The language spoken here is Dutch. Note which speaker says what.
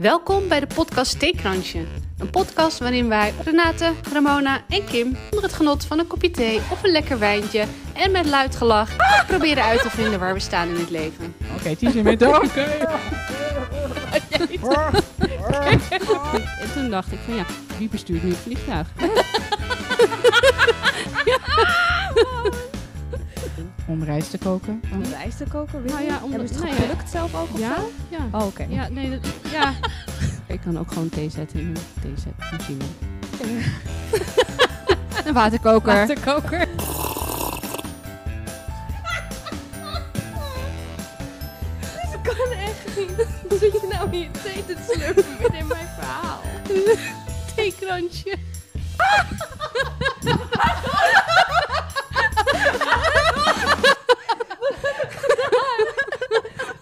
Speaker 1: Welkom bij de podcast Theekransje. Een podcast waarin wij Renate, Ramona en Kim onder het genot van een kopje thee of een lekker wijntje en met luid gelach proberen uit te vinden waar we staan in het leven.
Speaker 2: Oké, tien zijn met Oké.
Speaker 1: En toen dacht ik van ja, wie bestuurt nu het vliegtuig?
Speaker 2: Om rijst te koken.
Speaker 3: Om rijst te koken? Really?
Speaker 1: Nou ja, om
Speaker 3: Hebben ze
Speaker 1: de-
Speaker 3: het
Speaker 1: nou ja.
Speaker 3: gelukt zelf ook of
Speaker 1: Ja,
Speaker 3: zo?
Speaker 1: ja.
Speaker 3: Oh, oké.
Speaker 1: Ja, nee, dat, ja. Ik kan ook gewoon thee zetten in een theezetmachine. Een waterkoker.
Speaker 3: Waterkoker. Dit kan echt niet. Hoe zit je nou hier thee te slurpen midden in mijn verhaal?
Speaker 1: theekransje.